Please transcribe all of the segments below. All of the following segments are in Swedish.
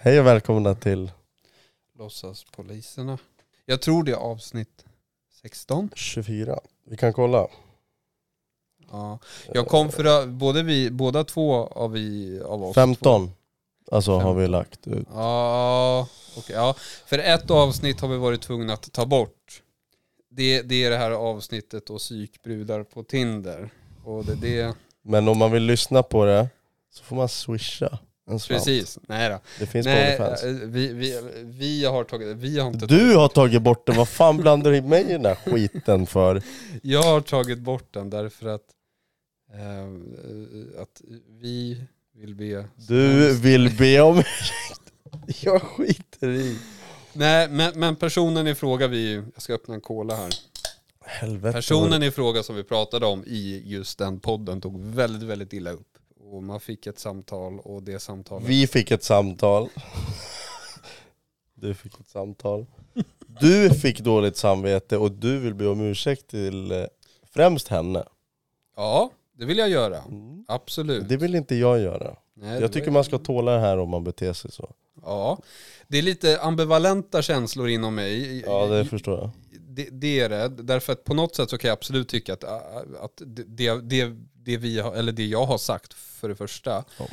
Hej och välkomna till Låtsaspoliserna. Jag tror det är avsnitt 16. 24. Vi kan kolla. Ja. Jag kom för att, både vi, båda två av, vi, av oss. Två. 15. Alltså har Fem. vi lagt ut. Ja, okej, ja, för ett avsnitt har vi varit tvungna att ta bort. Det, det är det här avsnittet och psykbrudar på Tinder. Och det, det Men om man vill lyssna på det så får man swisha en slant. precis, nej då. Det finns Nej, på OnlyFans. eh, vi, vi, vi har tagit, vi har inte Du har tagit bort den, vad fan blandar du i mig i den där skiten för? Jag har tagit bort den därför att, eh, att vi vill be... Du vill be om ursäkt. Jag skiter i. Nej, men, men personen i fråga vi... Jag ska öppna en cola här. Helvete. Personen i fråga som vi pratade om i just den podden tog väldigt, väldigt illa upp. Och man fick ett samtal och det samtalet... Vi fick ett samtal. Du fick ett samtal. Du fick dåligt samvete och du vill be om ursäkt till eh, främst henne. Ja, det vill jag göra. Absolut. Det vill inte jag göra. Nej, det var- Jag tycker man ska tåla det här om man beter sig så. Ja. Det är lite ambivalenta känslor inom mig. Ja det förstår jag. det, det är det. Därför att på något sätt så kan jag absolut tycka att, äh, att det, det, det, vi har, eller det jag har sagt för det första Ja.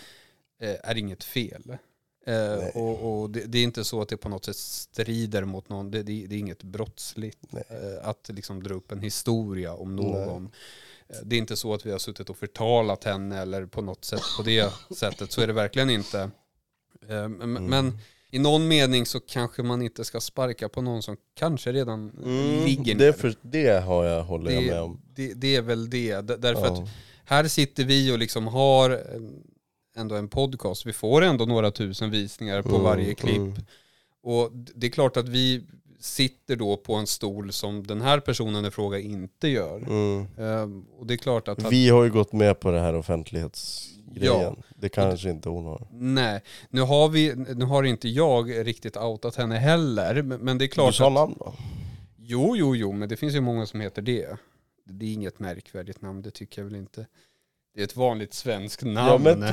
eh, är inget fel. Eh, och och det, det är inte så att det på något sätt strider mot någon. Det, det, det är inget brottsligt Nej. eh, att liksom dra upp en historia om någon. Eh, Det är inte så att vi har suttit och förtalat henne eller på något sätt på det sättet. Så är det verkligen inte. Eh, men- Mm. Men i någon mening så kanske man inte ska sparka på någon som kanske redan ligger ner. Mm, det, för, det har jag, håller jag med om. det, det är väl det. D- Därför Ja. att här sitter vi och liksom har en- ändå en podcast. Vi får ändå några tusen visningar på Mm, varje klipp. mm. Och d- det är klart att vi sitter då på en stol som den här personen i fråga inte gör. Mm. Ehm, och det är klart att... Vi har ju gått med på det här offentlighetsgrejen. Det kanske inte hon har. Nej, nu har, vi, nu har inte jag riktigt outat henne heller. Men men det är Du klart sa att... namn då? Jo, jo, jo, men det finns ju många som heter det. Det är inget märkvärdigt namn, det tycker jag väl inte. Det är ett vanligt svenskt namn. men-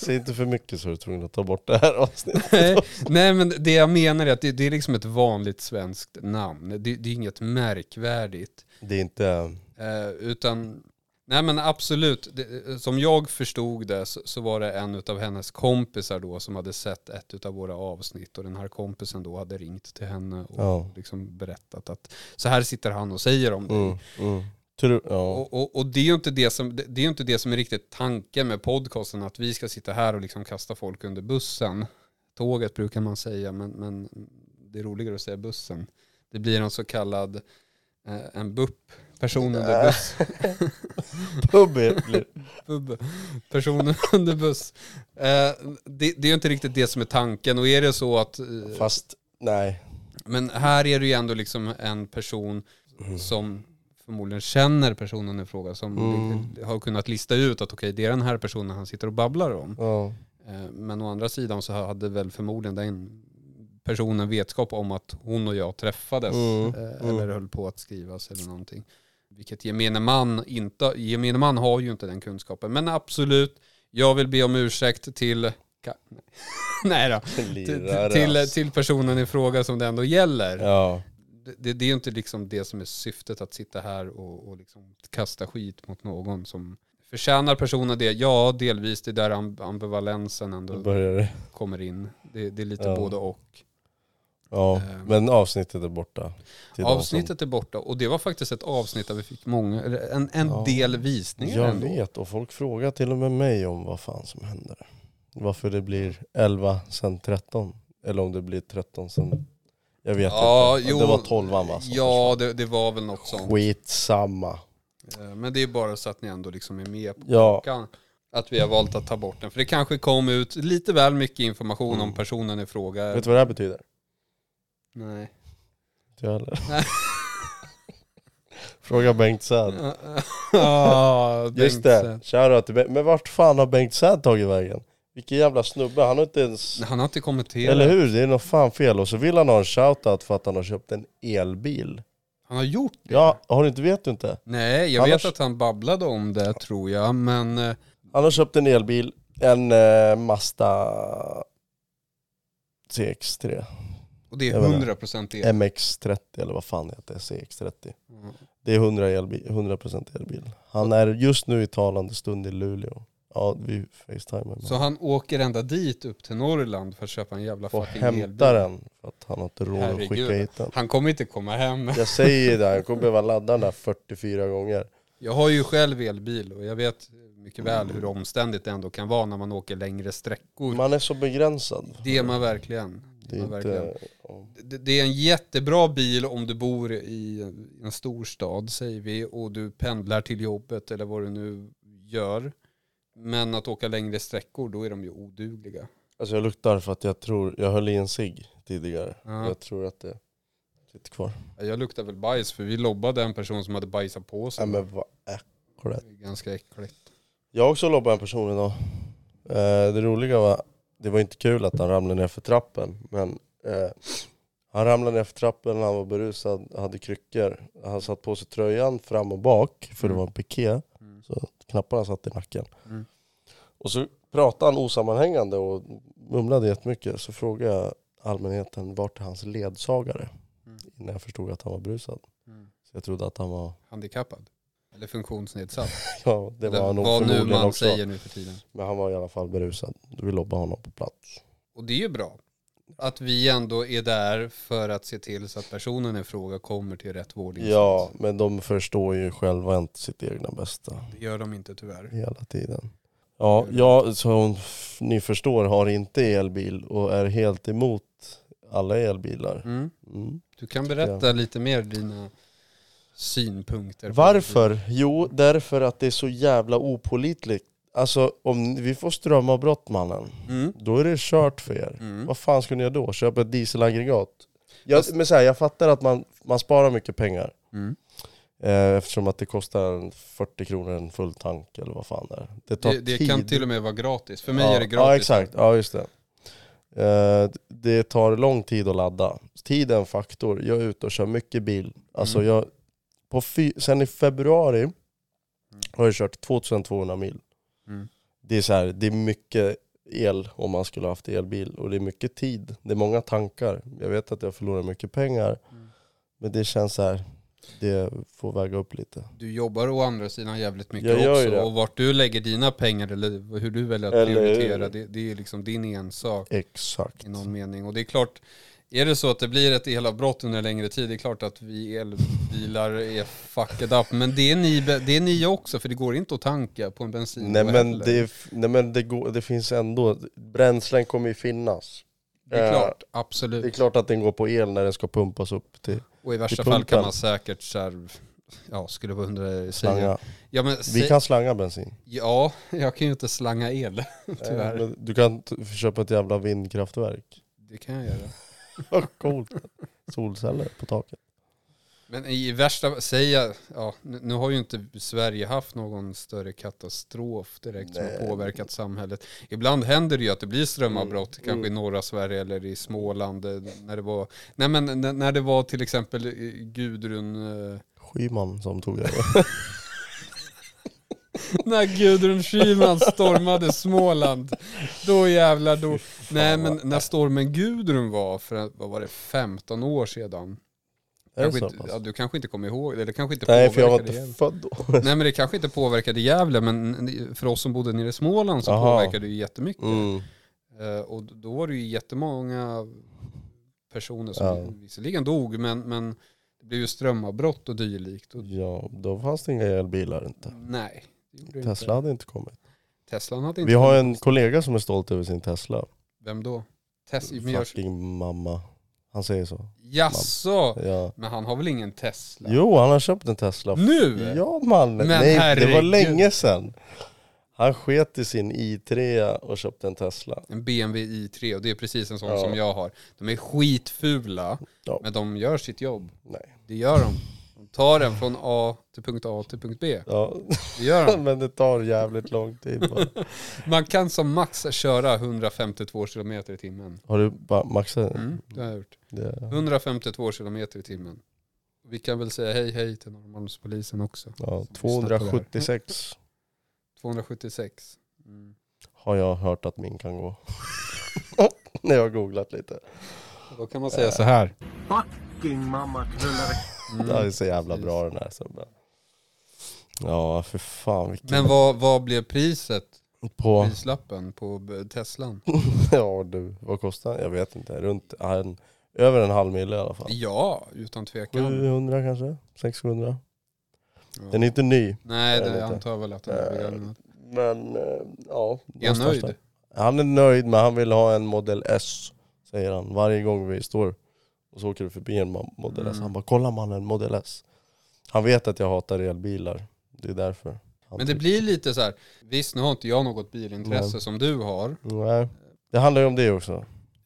Säg inte för mycket så är du tvungen att ta bort det här avsnittet. Nej, Nej, men det jag menar är att det, det är liksom ett vanligt svenskt namn. Det, det är inget märkvärdigt. Det är inte... Eh, utan, nej men absolut, det, som jag förstod det så, så var det en av hennes kompisar då som hade sett ett av våra avsnitt och den här kompisen då hade ringt till henne och Ja. liksom berättat att så här sitter han och säger om dig. Mm, mm. Tror, ja. Och, och, och det är ju inte det, som, det, det är ju inte det som är riktigt tanken med podcasten, att vi ska sitta här och liksom kasta folk under bussen. Tåget brukar man säga, men, men det är roligare att säga bussen. Det blir en så kallad, eh, en bupp, person under buss. Pubbe blir... Bubb, person under buss. Eh, det, det är ju inte riktigt det som är tanken, och är det så att... eh, Fast nej. Men här är det ju ändå liksom en person som förmodligen känner personen i fråga som Mm. har kunnat lista ut att okej det är den här personen han sitter och babblar om. Ja. Eh, Men å andra sidan så hade väl förmodligen den personen vetskap om att hon och jag träffades Mm, eh, mm. eller höll på att skrivas eller någonting. Vilket gemene man inte, gemene man har ju inte den kunskapen. Men absolut, jag vill be om ursäkt till, ka- nej då, till, Lirare, till, alltså. till personen i fråga som det ändå gäller Ja. det- det, det är ju inte liksom det som är syftet att sitta här och, och liksom kasta skit mot någon som förtjänar personen det. Ja, delvis. Det är där amb- ambivalensen Då ändå börjar det. kommer in. Det, det är lite Ja. både och. Ja, Ehm. men avsnittet är borta. Till de som- Avsnittet är borta och det var faktiskt ett avsnitt där vi fick många, eller en, en Ja. del visningar Jag ändå. vet och folk frågar till och med mig om vad fan som händer. Varför det blir 11 sen 13. Eller om det blir 13 sen... Jag vet Ja, inte. jo. det var 12 va? som Ja, det, det var väl något försvann. sånt. Skitsamma. Eh, Men det är bara så att ni ändå liksom är med på Ja, kan, att vi har valt att ta bort den. För det kanske kom ut lite väl mycket information om personen i fråga. Mm. vet du vad det här betyder? Nej. Inte jag heller. Fråga Bengt Säd. Ja, Just det, shoutout till Bengt. Men vart fan har Bengt Säd tagit vägen? Vilken jävla snubbe, han har inte ens... Han har inte kommenterat. Eller hur? Det är något fan fel. Och så vill han ha en shoutout för att han har köpt en elbil. Han har gjort det. Ja, har du inte, vet du inte? Nej, jag Annars- vet att han babblade om det tror jag, men eh, Han har köpt en elbil, en eh, Mazda CX3. Och det är Jag menar, 100% el. MX30 eller vad fan det heter, CX30. Det är 100 elbil, 100% elbil. Han är just nu i talande stund i Luleå. Ja, vi facetimar med Så honom. han åker ända dit upp till Norrland för att köpa en jävla Och fucking hämtar elbil. den för att han har inte råd att Herregud. skicka hit den. Han kommer inte komma hem. Jag säger det, här, jag kommer behöva ladda den där 44 gånger. Jag har ju själv elbil och jag vet mycket väl hur omständigt det ändå kan vara när man åker längre sträckor. Man är så begränsad. det är man verkligen. Det är man verkligen. inte... ja. Det, det är en jättebra bil om du bor i en storstad säger vi och du pendlar till jobbet eller vad du nu gör. Men att åka längre sträckor då är de ju odugliga. Alltså jag luktar för att jag tror, jag höll i en cigg tidigare. Ja. Jag tror att det sitter kvar. Jag luktar väl bajs för vi lobbade en person som hade bajsat på sig. Nej men vad äckligt. Det är ganska äckligt. Jag har också lobbat en person idag. Eh, det roliga var, det var inte kul att han ramlade ner för trappen, men eh, han ramlade ner för trappen, han var berusad, hade kryckor. Han satt på sig tröjan fram och bak, för det var en piké, Mm. så knapparna satt i nacken. Mm. Och så pratade han osammanhängande och mumlade jättemycket. Så frågade jag allmänheten, vart är hans ledsagare? Mm. Innan jag förstod att han var berusad. Mm. Så jag trodde att han var, Handikappad. Eller funktionsnedsatt. ja det var Eller han nog vad nu förmodligen man också. säger nu för tiden. Men han var i alla fall berusad. Vi lobbade honom på plats. Och det är ju bra. Att vi ändå är där för att se till så att personen i fråga kommer till rätt vårdinsats. Ja, men de förstår ju själva inte sitt egna bästa Det gör de inte tyvärr. hela tiden. Ja, jag som f- ni förstår har inte elbil och är helt emot alla elbilar. Mm. Mm. Du kan berätta lite mer dina synpunkter. på Varför? Jo, därför att det är så jävla opolitligt. Alltså om vi får strömavbrott mannen, det. Mm. då är det kört för er. Mm. Vad fan skulle ni göra då? Köpa ett dieselaggregat? Jag, Fast- men så här, jag fattar att man, man sparar mycket pengar. Mm. Eh, Eftersom att det kostar en 40 kronor en full tank eller vad fan det är. Det tar Det, det tid. kan till och med vara gratis. För mig ja, är det Ja gratis. exakt, ja just det. Eh, Det tar lång tid att ladda. Tid är en faktor. Jag är ute och kör mycket bil. Alltså Mm. jag, på fy, sen i februari har jag kört 2200 mil. Mm. Det är så här, det är mycket el om man skulle ha haft elbil. Och det är mycket tid. Det är många tankar. Jag vet att jag förlorar mycket pengar. Mm. Men det känns så här, det får väga upp lite. Du jobbar å andra sidan jävligt mycket Jag gör ju också. det. Och vart du lägger dina pengar eller hur du väljer att Eller hur? prioritera, det, det är liksom din ensak. Exakt. i någon mening. Och det är klart, är det så att det blir ett elavbrott under en längre tid, det är klart att vi elbilar är fucked up. Men det är ni, det är ni också, för det går inte att tanka på en bensin. Nej men, det, nej men det, går, det finns ändå, bränslen kommer ju finnas. Det är eh, klart, Det är absolut. klart att den går på el när den ska pumpas upp till Och i värsta pumpen. fall kan man säkert så här, ja, skulle vara hundra säga. slanga. Ja, men, Vi sä- kan slanga bensin. ja, jag kan ju inte slanga el, tyvärr. Eh, men Du kan t- köpa ett jävla vindkraftverk. Det kan jag göra. Vad coolt. Solceller på taket. Men i värsta, säga, ja, nu nu har ju inte Sverige haft någon större katastrof direkt som har Nej. påverkat samhället. Ibland händer det ju att det blir strömavbrott, Mm, kanske i norra Sverige eller i Småland, eh, när det var, nej men n- när det var till exempel eh, Gudrun, eh, Skyman som tog över. när Gudrun Schyman stormade Småland, då jävlar då. Nej men när stormen Gudrun var, för vad var det, 15 år sedan? Är det Kanske så inte, pass? ja, du kanske inte kommer ihåg, eller kanske inte Nej för jag var påverkade inte det. född då. Nej men det kanske inte påverkade Gävle, men för oss som bodde nere i Småland så Jaha. påverkade det ju jättemycket. Mm. Eh, Och då var det ju jättemånga personer som Ja. visserligen dog, men, men det blev ju strömavbrott och dylikt. Och, Ja, då fanns det inga elbilar inte. nej, det gjorde det Tesla Inte. hade inte kommit. Teslan hade inte... Vi har en kollega som är stolt över sin Tesla. Vem då? Tes... men jag- Fucking mamma. Han säger så. Jaså? Ja. Men han har väl ingen Tesla? Jo, han har köpt en Tesla. Nu? Ja man, Men nej, det var herregud. länge sedan. Han sket i sin i3 och köpte en Tesla. En BMW i3 och det är precis en sån Ja. som jag har. De är skitfula, Ja. men de gör sitt jobb. Nej. Det gör de. De tar den från A till punkt A till punkt B. Ja. Det gör de. Men det tar jävligt lång tid. Bara. Man kan som max köra 152 km i timmen. Har du bara maxat? Mm, det har jag gjort. Det, 152 km i timmen. Vi kan väl säga hej hej till Norrmalmspolisen också. ja, 276 276. Mm. har jag hört att min kan gå. när jag har googlat lite. Då kan man säga så här. Fucking mamma knullare. Mm. Det är så jävla bra den här snubben. Ja, för fan vilken... Men vad, vad blev priset? På... Prislappen på b- Teslan? Ja du, vad kostar den? Jag vet inte. Runt en, över en halv mille i alla fall. Ja, utan tvekan. 700 kanske? 600? Ja. Mm. Den är inte ny. Nej, Jag vet det inte. antar jag väl att den är Eh, begagnad. Men eh, ja. Är någonstans jag nöjd? där. Han är nöjd men han vill ha en Model S, säger han. Varje gång vi står och så åker vi förbi en ma- Model S. Mm. Han bara, kolla mannen, Model S. Han vet att jag hatar elbilar. Det är därför. Han Men det tycker- blir lite så här. Visst, nu har inte jag något bilintresse Nej. som du har. Nej. Det handlar ju om det också.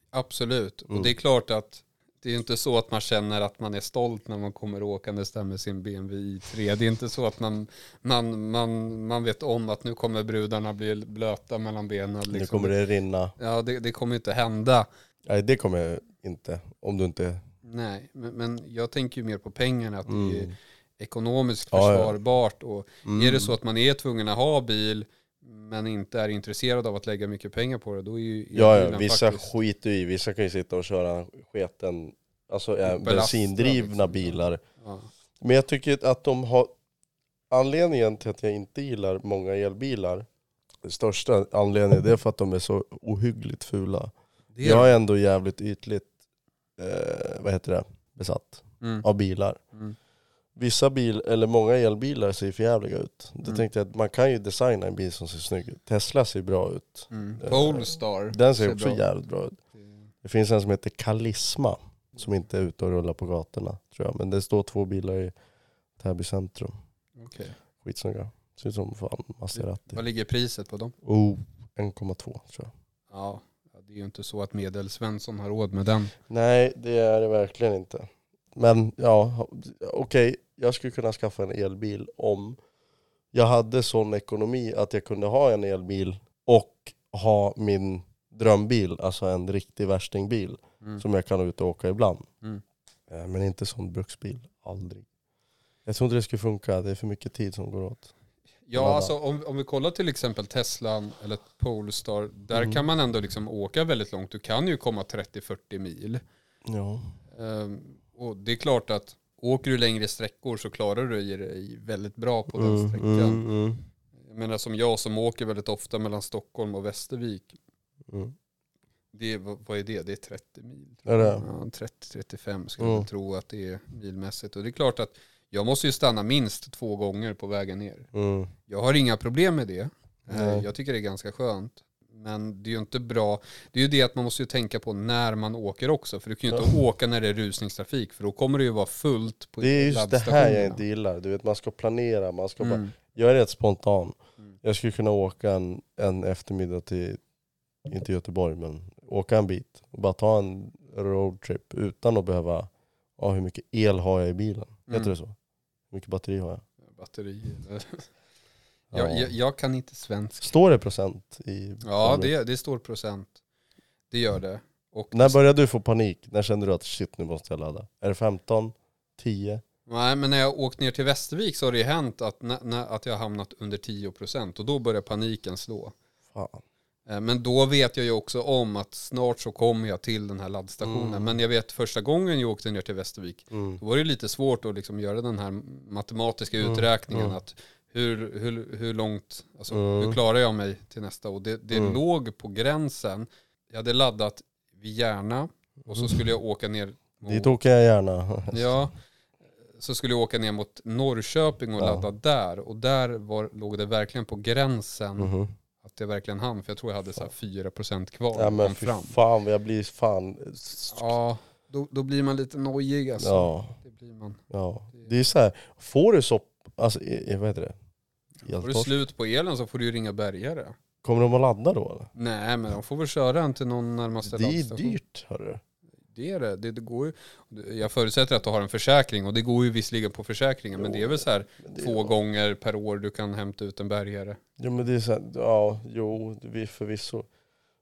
Absolut. Mm. Och det är klart att det är ju inte så att man känner att man är stolt när man kommer åkandes där med sin BMW i3. Det är inte så att man, man, man, man vet om att nu kommer brudarna bli blöta mellan benen. Liksom. Nu kommer det rinna. Ja, det, det kommer ju inte hända. Nej det kommer jag inte. Om du inte... Nej, men, men jag tänker ju mer på pengarna, att det Mm. är ekonomiskt Ja, ja. försvarbart. Och Mm. är det så att man är tvungen att ha bil, men inte är intresserad av att lägga mycket pengar på det, då är ju Ja, ja elbilen vissa faktiskt- skiter ju i. Vissa kan ju sitta och köra sketen, alltså eh, Belasta, bensindrivna liksom. bilar. Ja. Men jag tycker att de har, anledningen till att jag inte gillar många elbilar, den största anledningen det är för att de är så ohyggligt fula. Det är, Jag är ändå jävligt ytligt, eh, vad heter det, besatt mm. av bilar. Mm. Vissa bil, eller många elbilar ser förjävliga ut. Då Mm. tänkte jag att man kan ju designa en bil som ser snygg ut. Tesla ser bra ut. Mm. Polestar. Den ser också bra ut. jävligt bra ut. Det- Det finns en som heter Kalisma som inte är ute och rullar på gatorna tror jag. Men det står två bilar i Täby centrum. Okej. Skitsnygga. Ser ut som fan Maserati. Vad ligger priset på dem? Oh, 1,2 tror jag. Ja, det är ju inte så att medelsvensson har råd med den. Nej det är det verkligen inte. Men ja, okej. Jag skulle kunna skaffa en elbil om jag hade sån ekonomi att jag kunde ha en elbil och ha min drömbil, alltså en riktig värstingbil Mm. som jag kan ut och åka ibland. Mm. Eh, Men inte sån bruksbil, aldrig. Jag tror inte det skulle funka, det är för mycket tid som går åt. Ja, Ladda. alltså om, om vi kollar till exempel Teslan eller Polestar, där Mm. kan man ändå liksom åka väldigt långt. Du kan ju komma 30-40 mil. Ja. Ehm, och det är klart att åker du längre sträckor så klarar du dig väldigt bra på den Mm, sträckan. mm, mm, Jag menar som jag som åker väldigt ofta mellan Stockholm och Västervik. mm. Det, är- vad vad är det? Det är 30 mil. Är det? Ja, 30-35 skulle jag Mm. väl tro att det är milmässigt. Och det är klart att jag måste ju stanna minst två gånger på vägen ner. Mm. Jag har inga problem med det. Eh, Nej. Jag tycker det är ganska skönt. Men det är ju inte bra. Det är ju det att man måste ju tänka på när man åker också. För du kan ju inte åka när det är rusningstrafik. För då kommer det ju vara fullt på Det är just det här jag inte laddstationerna. gillar, du vet man ska planera, man ska bara... Mm. Jag är rätt spontan. Mm. Jag skulle kunna åka en, en eftermiddag till, inte Göteborg men åka en bit och bara ta en roadtrip utan att behöva, ja hur mycket el har jag i bilen? Heter Mm. det så? Hur mycket batteri har jag? Batteri. Ja. Jag, jag, jag kan inte svenska. Står det procent i Ja, det, det står procent. Det gör det. Och När började du få panik? När kände du att shit nu måste jag ladda? Är det 15? 10? Nej, men när jag åkt ner till Västervik så har det ju hänt att, nä- nä- att jag har hamnat under 10% och då börjar paniken slå. Fan. Eh, Men då vet jag ju också om att snart så kommer jag till den här laddstationen. Mm. Men jag vet första gången jag åkte ner till Västervik, Mm. då var det ju lite svårt att liksom göra den här matematiska Mm, uträkningen. mm. Att hur, hur, hur långt, alltså Mm. hur klarar jag mig till nästa? Och det, det Mm. låg på gränsen. Jag hade laddat vid Järna och så skulle jag åka ner mot Dit åker jag gärna. Ja, så skulle jag åka ner mot Norrköping och Ja. ladda där. Och där var, låg det verkligen på gränsen Mhm. att jag verkligen hann. För jag tror jag hade så här 4% kvar. när Ja, jag men kom fy fram. fan, jag blir fan... Ja, då, då blir man lite nojig alltså. Ja, Det blir man. ja. Det är så här, får du sopp... Alltså, i- i- vad heter det? Får du Hjältorsk. slut på elen så får du ju ringa bärgare. Kommer de att ladda då eller? Nej, men de får väl köra en till någon närmaste Det är laddstation. dyrt hörru. Det är det. det, det går ju, jag förutsätter att du har en försäkring och det går ju visserligen på försäkringen. Men Jo, det är väl så här Men det är- två gånger per år du kan hämta ut en bärgare. Ja men det är så här, ja jo, vi förvisso.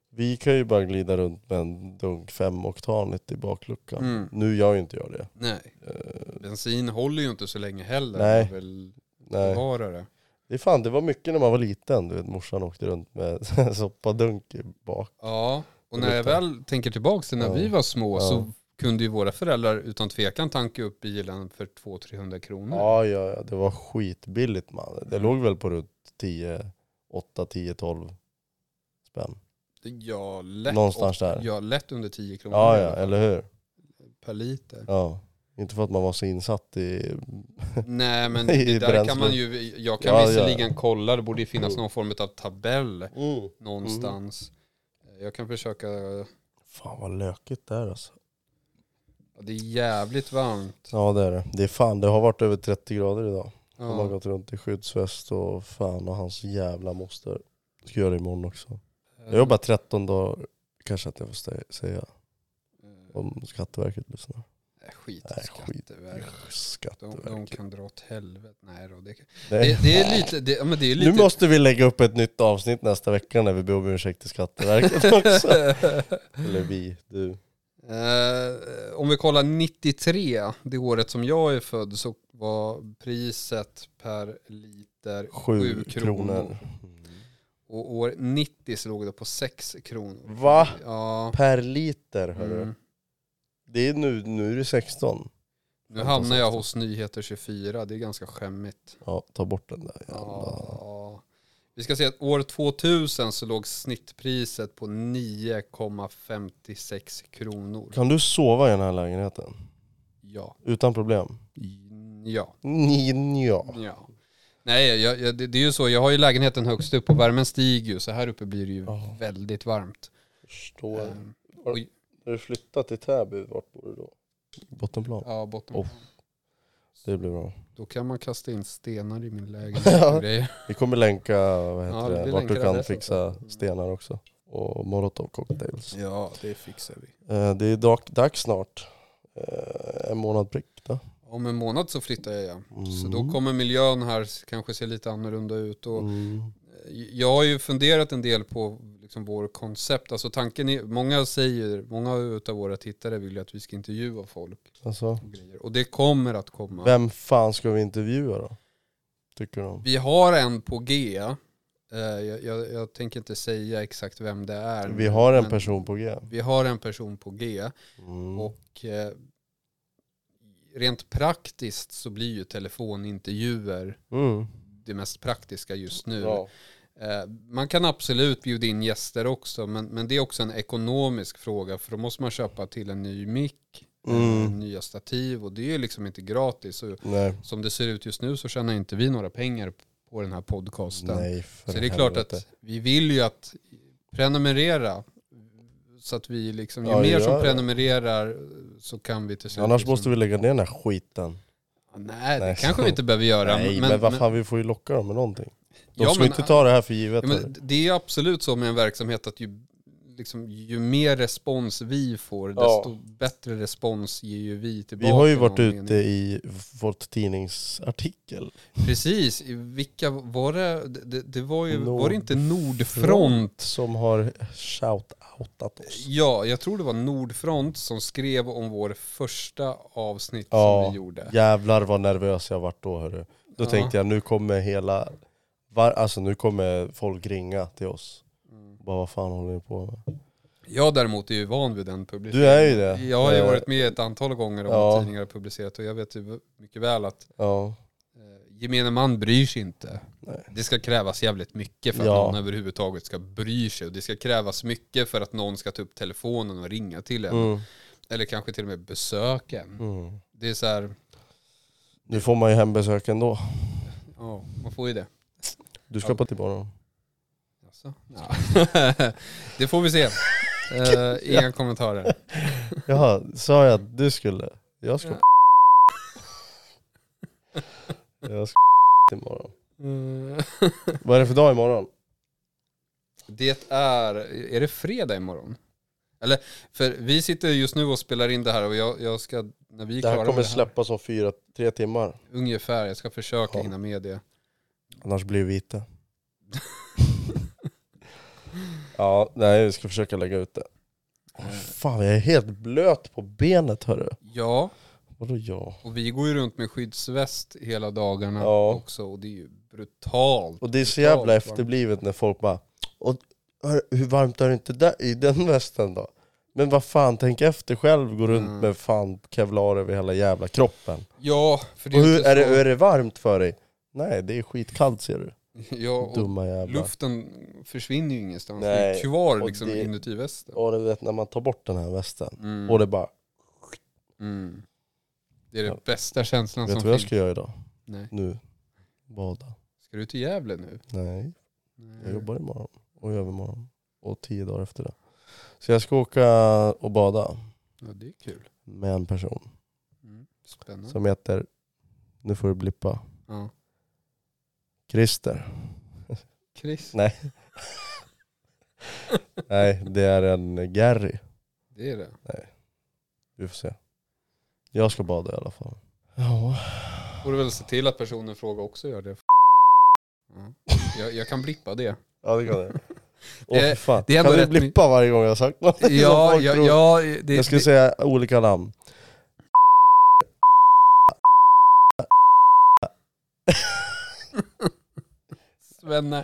Vi kan ju bara glida runt med en dunk femoktanigt i bakluckan. Mm. Nu gör ju inte jag det. Nej. Eh, Bensin håller ju inte så länge heller. Nej. Man Väl nej. bevara det. Det, är fan, det var mycket när man var liten, du vet morsan åkte runt med soppadunk i bak. Ja, Och när jag väl tänker tillbaka till när Ja. vi var små Ja. så kunde ju våra föräldrar utan tvekan tanka upp bilen för 200-300 kronor. Ja, ja, ja, det var skitbilligt man. Det låg väl på runt 10, 8, 10, 12 spänn. Ja, lätt, Någonstans där. Ja, lätt under 10 kronor Ja, ja, eller hur? per liter. Ja. Inte för att man var så insatt i... Nej men I det där bränsle. kan man ju, jag kan Ja, ja. visserligen kolla, det borde ju finnas någon form av tabell någonstans. Mm. Jag kan försöka, ja, Fan vad lökigt det är alltså. det är jävligt varmt. Ja det är det. Det är fan, det har varit över 30 grader idag. De har Ja. gått runt i skyddsväst och fan och hans jävla moster. Ska göra det imorgon Mm. också. Jag jobbar 13 dagar, kanske att jag får stä- säga. Om Skatteverket lyssnar. Nej, Eh, Skit i Nej, skit. Skatteverket. De, de Skatteverket. kan dra åt helvete. Nej då, det, kan- Nej. det, det är lite, det, ja, men det är lite... Nu måste vi lägga upp ett nytt avsnitt nästa vecka när vi ber om ursäkt till Skatteverket också. Eller vi, du. Eh, om vi kollar 93, det året som jag är född, så var priset per liter Sju, Sju kronor. Mm. kronor. och år 90 så låg det på 6 kronor. Va? Ja. Per liter hörru. Mm. Det är nu, nu är det 16. Nu hamnar jag hos Nyheter 24, det är ganska skämmigt. Ja, ta bort den där jävla. Ja. Vi ska se att år 2000 så låg snittpriset på 9,56 kronor. Kan du sova i den här lägenheten? Ja. Utan problem? Ja. Ni, ja. Ja. Nej, jag, jag, det, det är ju så. Jag har ju lägenheten högst upp och värmen stiger ju. Så här uppe blir det ju Ja. väldigt varmt. Förstår. Ehm, Har- och, När du flyttat till Täby, vart bor du då? Bottenplan. ja, botten. Oh. Det blir bra. Då kan man kasta in stenar i min lägenhet och grejer. Vi kommer länka vad Ja, heter vi det? vart länkar Mm. du kan adressen. fixa stenar också. Och Molotov cocktails. Ja, det fixar vi. Eh, det är dag, dags snart. Eh, en månad prick då. Om en månad så flyttar jag igen. Så då Mm. kommer miljön här s- kanske se lite annorlunda ut. Och Mm. Jag har ju funderat en del på liksom vår koncept. Alltså tanken är, många säger, många av våra tittare vill ju att vi ska intervjua folk. Alltså, Och, grejer. och det kommer att komma. vem fan ska vi intervjua då? Tycker du? Vi har en på G. Eh, Jag, jag, jag tänker inte säga exakt vem det är. Vi har en men person på G. Vi har en person på G. Mm. Och eh, rent praktiskt så blir ju telefonintervjuer Mm. det mest praktiska just nu. Ja. Eh, Man kan absolut bjuda in gäster också, men, men det är också en ekonomisk fråga. För då måste man köpa till en ny mick, Mm. eh, nya stativ och det är ju liksom inte gratis. Och Nej. som det ser ut just nu så tjänar inte vi några pengar på den här podcasten. Nej, för Så det är klart helvete. att vi vill ju att prenumerera. Så att vi liksom, ju Ja, mer gör som det. prenumererar så kan vi till slut... Annars liksom, måste vi lägga ner den här skiten. Nej, det Nej. kanske vi inte behöver göra. Nej men, vad fan, vi får ju locka dem med någonting. De Ja, ska men- inte ta det här för givet. ja, hörru. men det är absolut så med en verksamhet att ju, liksom, ju mer respons vi får, Ja. desto bättre respons ger ju vi tillbaka. vi har ju i varit någon ute mening. i, fått tidningsartikel. Precis, i vilka var det? Det, det var ju, var det inte Nordfront? Nordfront Som har shout-outat oss. Ja, jag tror det var Nordfront som skrev om vår första avsnitt Ja. som vi gjorde. Jävlar vad nervös jag vart då hörru. Då Ja. tänkte jag nu kommer hela, var, alltså nu kommer folk ringa till oss. Mm. Bara vad fan håller ni på med? Jag däremot är ju van vid den Du publiceringen. är ju det. Jag har ju Eh, varit med ett antal gånger om Ja. vad tidningar har publicerat och jag vet ju mycket väl att Ja. eh, gemene man bryr sig inte. Nej. Det ska krävas jävligt mycket för att Ja. någon överhuvudtaget ska bry sig och det ska krävas mycket för att någon ska ta upp telefonen och ringa till en. Mm. Eller kanske till och med besöka en. Mm. Det är så här, Nu får man ju hembesök ändå. ja, man får ju det. Du ska på tillbaka dem. Jaså? Ja. det får vi se. Eh, inga kommentarer. Jaha, sa jag att du skulle? Jag ska Ja. på Jag ska på imorgon. Vad är det för dag imorgon? Det är, är det fredag imorgon? Eller, för vi sitter just nu och spelar in det här och jag, jag ska, när vi är Det klara här med kommer släppas om fyra, tre timmar. ungefär, jag ska försöka Ja. hinna med det. Annars blir vi vita. ja, nej vi ska försöka lägga ut det. Åh, fan jag är helt blöt på benet hörru. Ja, Vadå ja? och vi går ju runt med skyddsväst hela dagarna Ja. också och det är ju brutalt. Och det är så brutalt jävla varmt. efterblivet när folk bara och hör, hur varmt är det inte där, i den västen då? Men vad fan, tänk efter själv, gå runt Mm. med fan kevlar över hela jävla kroppen. Ja, för det och är ju hur, inte är, det, så... är det varmt för dig? Nej, det är skitkallt ser du. ja, och Dumma jävla. luften försvinner ju ingenstans. det Nej, är kvar och liksom det- inuti västen. Och du vet när man tar bort den här västen, Mm, och det bara, mm. Det är Ja. den bästa känslan vet du som vad jag finns. ska göra idag? Nej. Nu? Bada. Ska du till Gävle nu? Nej, jag Nej. jobbar imorgon och i övermorgon och tio dagar efter det. Så jag ska åka och bada Ja, det är kul. med en person Mm. Spännande. som heter, nu får du blippa, Ja. Christer. Chris, Nej. Nej, det är en Gary. det är det. Vi får se. Jag ska bada i alla fall. Ja. Borde väl se till att personen i fråga också gör det. Ja. Jag, jag kan blippa det. Ja det kan det. Åh fy Eh, fan. det är ändå kan vi rätt my- blippa varje gång jag har sagt något? som Ja, folk ja, tror? ja det, jag skulle det, säga olika namn. Svenne.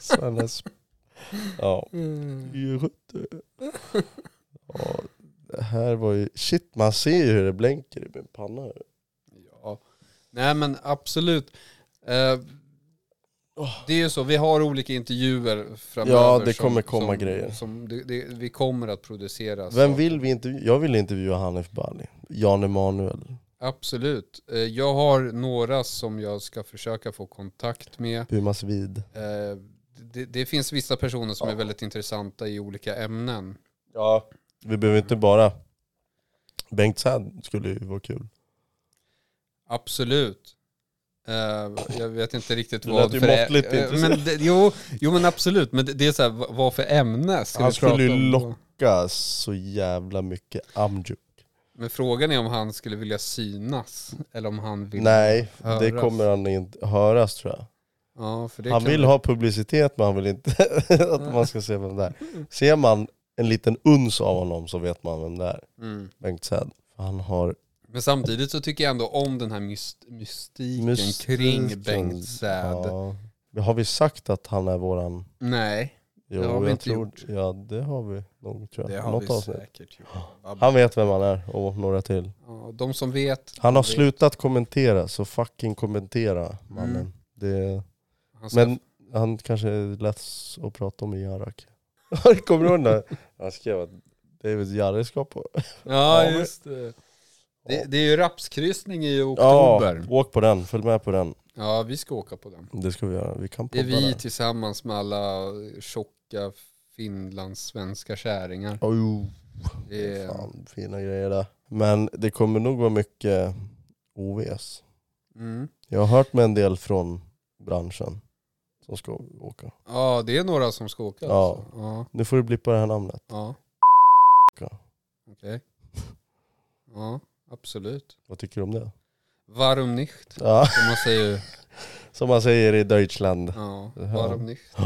Svennes. Ja. Mm. ja. Det här var ju, shit man ser ju hur det blänker i min panna. här. Ja. Nej men absolut. Eh, det är ju så, vi har olika intervjuer framöver. Ja, det som- kommer komma som, grejer. Som det, det, vi kommer att producera. Vem saker. vill vi intervjua? Jag vill intervjua Hanif Bali. Jan Emanuel. Absolut. Eh, jag har några som jag ska försöka få kontakt med. Pumas Vid. Eh, det, det finns vissa personer som är väldigt intressanta i olika ämnen. Ja. Vi behöver inte bara... Bengt Sad skulle ju vara kul. Absolut. Eh, jag vet inte riktigt Det vad lät ju för ä- måttligt eh, intresserad. men det, jo, jo men absolut, men det, det är så här, vad- vad för ämne ska Han vi prata skulle ju om? locka Ga- Så jävla mycket amjuk. Men frågan är om han skulle vilja synas eller om han vill Nej, höras. det kommer han inte höras tror jag. Ja, för det Han kan- vill ha publicitet men han vill inte att man ska se vem det är. Ser man en liten uns av honom så vet man vem det är. Mm. Bengt Säd. Han har... Men samtidigt så tycker jag ändå om den här myst mystiken, mystiken. kring Bengt Säd. Ja. Har vi sagt att han är våran... Nej, Jo, Det har vi jag inte tror... gjort. Ja, det har vi nog tror jag. det har Något vi avsnitt. säkert gjort. Han vet vem han är och några till. Ja, de som vet, Han har vet. slutat kommentera, så fucking kommentera mannen. Det, Han Mm. ska men han kanske är less att prata om i Jarak. Kommer du ihåg när han skrev att David Jarre ska på? Ja, Ja, just det. Det, det är ju rapskryssning i Ja, oktober. Ja. åk på den, följ med på den. vi ska åka på den. Det ska vi göra, vi kan Det är podda vi där. tillsammans med alla tjocka finlandssvenska käringar. Oh, Det är, fan, fina grejer där. Men det kommer nog vara mycket OVS. mm. Jag har hört med en del från branschen som ska åka. Ja, det är några som ska åka. Ja. Alltså. Ja, Nu får du blippa det här namnet. ja. Ja. Okej. Ja, absolut. Vad tycker du om det? Varum nicht, Ja, som man säger. som man säger i Deutschland. Ja, Ja. varum nicht. Ja.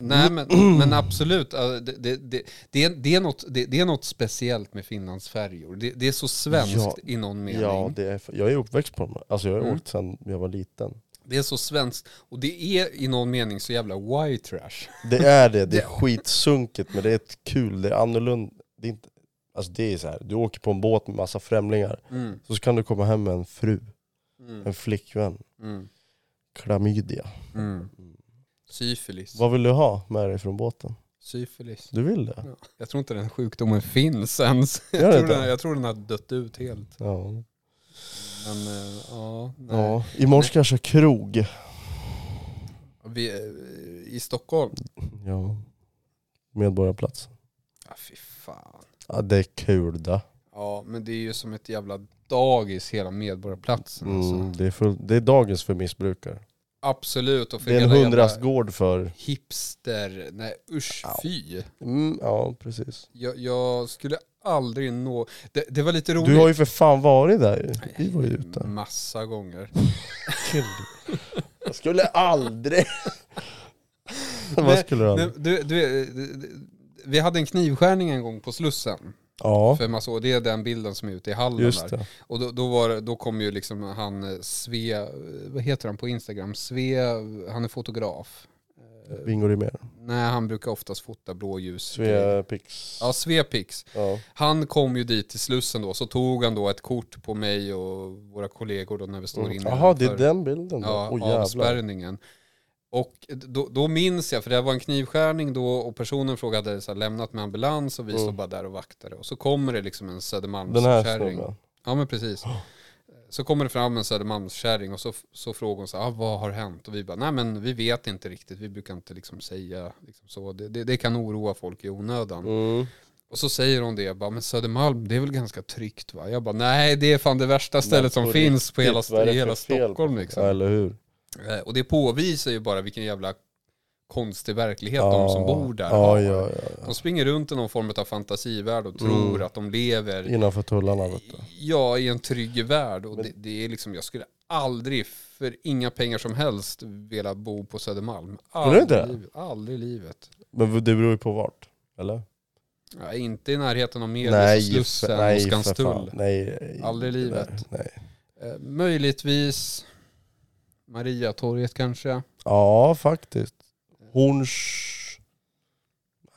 Mm. Nej men, men absolut, äh, det, det, det, det, är- det, är något, det, det är något speciellt med Finlandsfärjor. Det, det är så svenskt Ja. i någon mening. Ja, det är, jag är uppväxt på dem. Alltså jag har Mm. åkt sedan jag var liten. Det är så svenskt och det är i någon mening så jävla white trash. Det är det, det är Ja. skitsunkigt men det är ett kul, det är annorlunda. Det är inte, alltså det är så här, du åker på en båt med massa främlingar, Mm, så kan du komma hem med en fru, mm, en flickvän, mm, klamydia. mm. Syfilis. Vad vill du ha med dig från båten? Syfilis. Du vill det? Ja. Jag tror inte den sjukdomen finns ens. Gör Jag det tror, inte? den, jag tror den har dött ut helt. Ja. Men eh, ja, nej. ja. Imorgon ska jag köra krog. Vi, eh, I Stockholm? Ja. Medborgarplats. Ja, Ah, fy fan. Ja, det är kul det. Ja, men det är ju som ett jävla dagis hela Medborgarplatsen. Mm, Alltså. det, är full, det är dagens för missbrukare. Absolut. Och för Det är en hela jävla hundrastgård för... Hipster. Nej usch, Ja. fy. Mm, ja, precis. Jag, jag skulle aldrig nå... Det, det var lite roligt. Du har ju för fan varit där ju. Vi var ju Mm, ute. Massa gånger. Jag skulle aldrig... Vad Nej, skulle du aldrig? Du, du, du, du, vi hade en knivskärning en gång på Slussen. Ja, För massa, år. det är den bilden som är ute i hallen just där. det. Och då, då, var, det- då kom ju liksom eh, han eh, Sve, vad heter han på Instagram? Sve, han är fotograf. Bingo Rimér. Nej, han brukar oftast fota blåljus. Svea Pix. Ja, Svepix. Ja. Han kom ju dit till Slussen då, så tog han då ett kort på mig och våra kollegor då när vi står inne. Mm. Jaha, det är utanför, den bilden då? ja, Åh jävlar. avspärrningen. Och då, då minns jag, för det var en knivskärning då och personen frågade, så här, lämnat med ambulans och vi Mm. stod bara där och vaktade. Och så kommer det liksom en Den här Södermalmskärring. snubben. Ja men precis. Så kommer det fram en Södermalmskärring och så, så frågar hon så här, ah, vad har hänt? Och vi bara, nej men vi vet inte riktigt, vi brukar inte liksom säga liksom så. Det, det, det kan oroa folk i onödan. Mm. Och så säger hon det, jag bara, men Södermalm det är väl ganska tryggt va? Jag bara, nej det är fan det värsta stället som på finns på hela, riktigt, vad är det i hela för fel på- Stockholm liksom. Ja, eller hur? Eh, Och det påvisar ju bara vilken jävla konstig verklighet Ja. de som bor där har. Ja, Mm. ja, ja, ja. De springer runt i någon form av fantasivärld och tror att de lever Innanför tullarna vet du. Ja, i en trygg värld. Och det, det är liksom, jag skulle aldrig för inga pengar som helst vilja bo på Södermalm. Aldrig, inte? i livet- Aldrig i livet. Men det beror ju på vart, eller? Ja, inte i närheten av Medis, Slussen nej, och för Skanstull. fan. Nej, eh, Aldrig i nej, livet. Nej. Eh, möjligtvis Mariatorget kanske. Ja, faktiskt. Horns...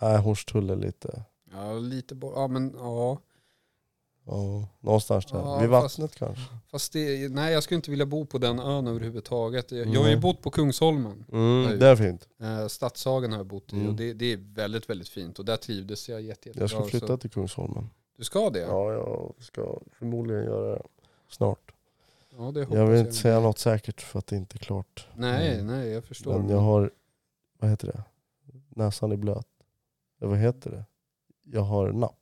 Nej, Hornstull är lite... Ja, lite bort. Ja, men ja. Ja, någonstans där. Ja, Vid fast- vattnet kanske. Fast det, nej, jag skulle inte vilja bo på den ön överhuvudtaget. Jag, jag har ju Nej. bott på Kungsholmen. Nej. Mm, det är fint. Eh, Stadshagen har jag bott i Mm. och det, det är väldigt, väldigt fint. Och där trivdes jag jätte, jättebra. Jag ska flytta Så, till Kungsholmen. du ska det? Ja, Ja, jag ska förmodligen göra det snart. det Jag hoppas vill inte säga något säkert för att det inte är klart. Nej, Mm. nej, jag förstår. Men jag har... Vad heter det? Näsan är blöt. Ja, vad heter det? Jag har napp.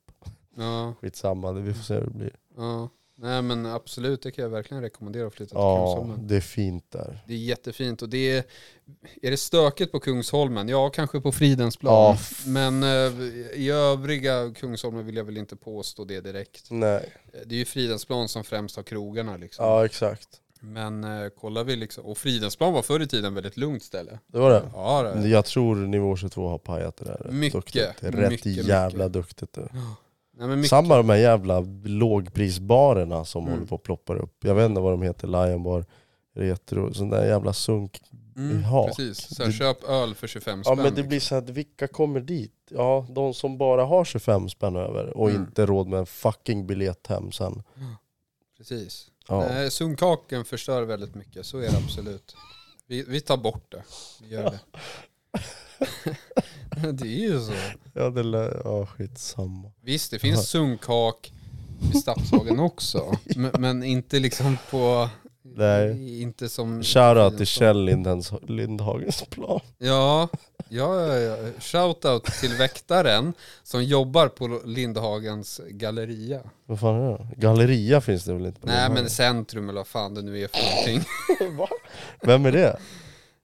Ja, Skitsamma, det- vi får se hur det blir. ja. Nej men absolut, det kan jag verkligen rekommendera att flytta till Ja, Kungsholmen. det är fint där. Det är jättefint och det är, är det stökigt på Kungsholmen? Ja, kanske på Fridhemsplan. Ja. Men eh, i övriga Kungsholmen vill jag väl inte påstå det direkt. Nej. Det är ju Fridhemsplan som främst har krogarna liksom. Ja, exakt. Men eh, kollar vi liksom, och Fridhemsplan var förr i tiden väldigt lugnt ställe. Det var det. Ja, det. Jag tror nivå 22 har pajat det där rätt Mycket, duktigt. Det är rätt mycket, jävla mycket. duktigt. Det. Nej, men mycket, Samma de här jävla lågprisbarerna som Mm. håller på att ploppa upp. Jag vet inte vad de heter, Lion Bar, Retro, sån där jävla sunk. mm, hak. precis. Så här, Det- köp öl för 25 Ja spänn. men det blir så att vilka kommer dit? Ja, de som bara har 25 spänn över och Mm. inte råd med en fucking biljett hem sen. Precis. Ja. Nej, sunkhaken förstör väldigt mycket, så är det absolut. Vi, vi tar bort det. Vi gör det. det är ju så. Ja, det lär, ja skitsamma. Visst, det finns sunkhak i Stadshagen också. men, men inte liksom på... Nej. Inte som... Shoutout till Kjell Lindhens, Lindhagens plan. Ja, ja, ja, ja. Shoutout till väktaren som jobbar på Lindhagens galleria. Vad fan är det? Galleria finns det väl inte? på Nej, Lindhagen? men centrum eller vad fan det nu är för någonting. Va? Vem är det?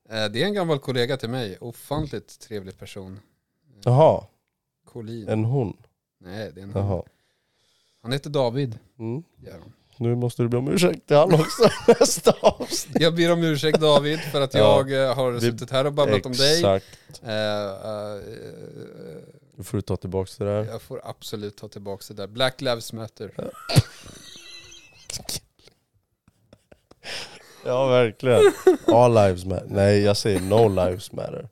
Eh, Det är en gammal kollega till mig. Ofantligt trevlig person. Jaha, Collin. en hon. Nej, det är en han. Jaha. Han heter David. Mm. gör han. Nu måste du be om ursäkt till han också nästa avsnitt. Jag ber om ursäkt David för att Ja. jag eh, har Vi- suttit här och babblat om dig. Exakt. Eh, eh, eh, Nu får du ta tillbaka det där. jag får absolut ta tillbaka det där. Black Lives Matter. Ja, verkligen. All lives matter. Nej, jag säger no lives matter.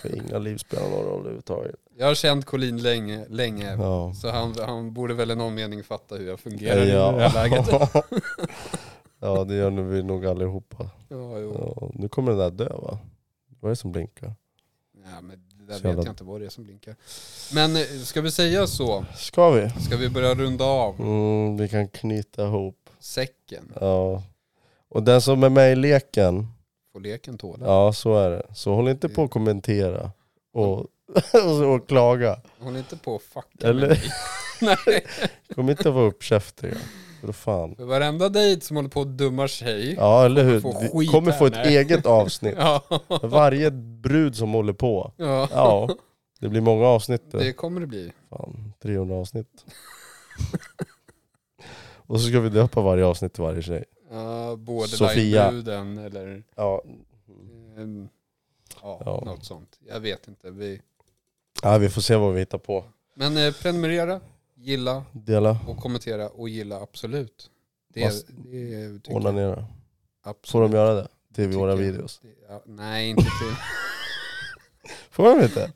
För inga liv spelar någon roll överhuvudtaget. Jag har känt Colin länge, länge Ja. så han, han borde väl i någon mening fatta hur jag fungerar i det här läget. Ja. ja, det gör nu vi nog allihopa. Ja, jo. Ja, nu kommer den där dö va? Vad är det som blinkar? Ja, men det där Så jävla- vet jag inte vad det är som blinkar. Men eh, ska vi säga så? Ska vi? Ska vi börja runda av Mm, vi kan knyta ihop. säcken? Ja. Och den som är med i leken Får leken tåla? Ja, så är det. Så håll inte på att kommentera och, och, och klaga. Håll inte på och fucka med Eller? mig. Nej. Kom inte att vara uppkäftiga. För fan. För varenda dejt som håller på och dummar sig. Ja. Ja, eller hur? Kommer få Vi skit kommer få ett här, nej. eget avsnitt. Ja. Varje brud som håller på. Ja, det blir många avsnitt. det Det. kommer det bli. Fan, 300 avsnitt. Och så ska vi döpa varje avsnitt till varje tjej. Uh, Sofia. Borderline-bruden eller Ja, ehm, ja, Ja. något sånt. Jag vet inte. Vi... ja vi får se vad vi hittar på. Men eh, prenumerera, gilla Dela, och kommentera och gilla absolut. Det, Fast- det tycker jag onanera. absolut. Får de göra det? Till våra Tycker jag. videos. Det- Ja, nej, inte till. Får man inte?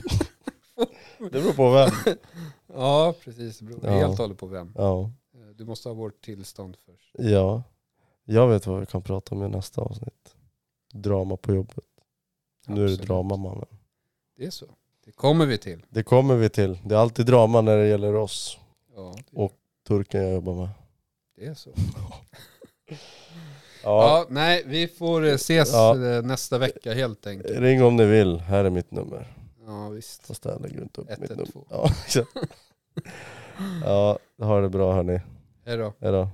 det beror på vem. Ja, precis. Det beror Ja. helt och hållet på vem. Ja. Eh, Du måste ha vårt tillstånd först. ja. Jag vet vad vi kan prata om i nästa avsnitt. Drama på jobbet. Nu är det Absolut. drama mannen. Det är så. Det kommer vi till. Det kommer vi till. Det är alltid drama när det gäller oss. Ja, det, Och- Turken jag jobbar med. det är så. Ja. Ja, nej, vi får eh, ses Ja. eh, nästa vecka helt enkelt. Ring om ni vill. Här är mitt nummer. Ja, visst. Fast jag lägger inte upp mitt nummer. 112. Ja, exakt. ja, ha det bra hörni. Hej då. Hejdå.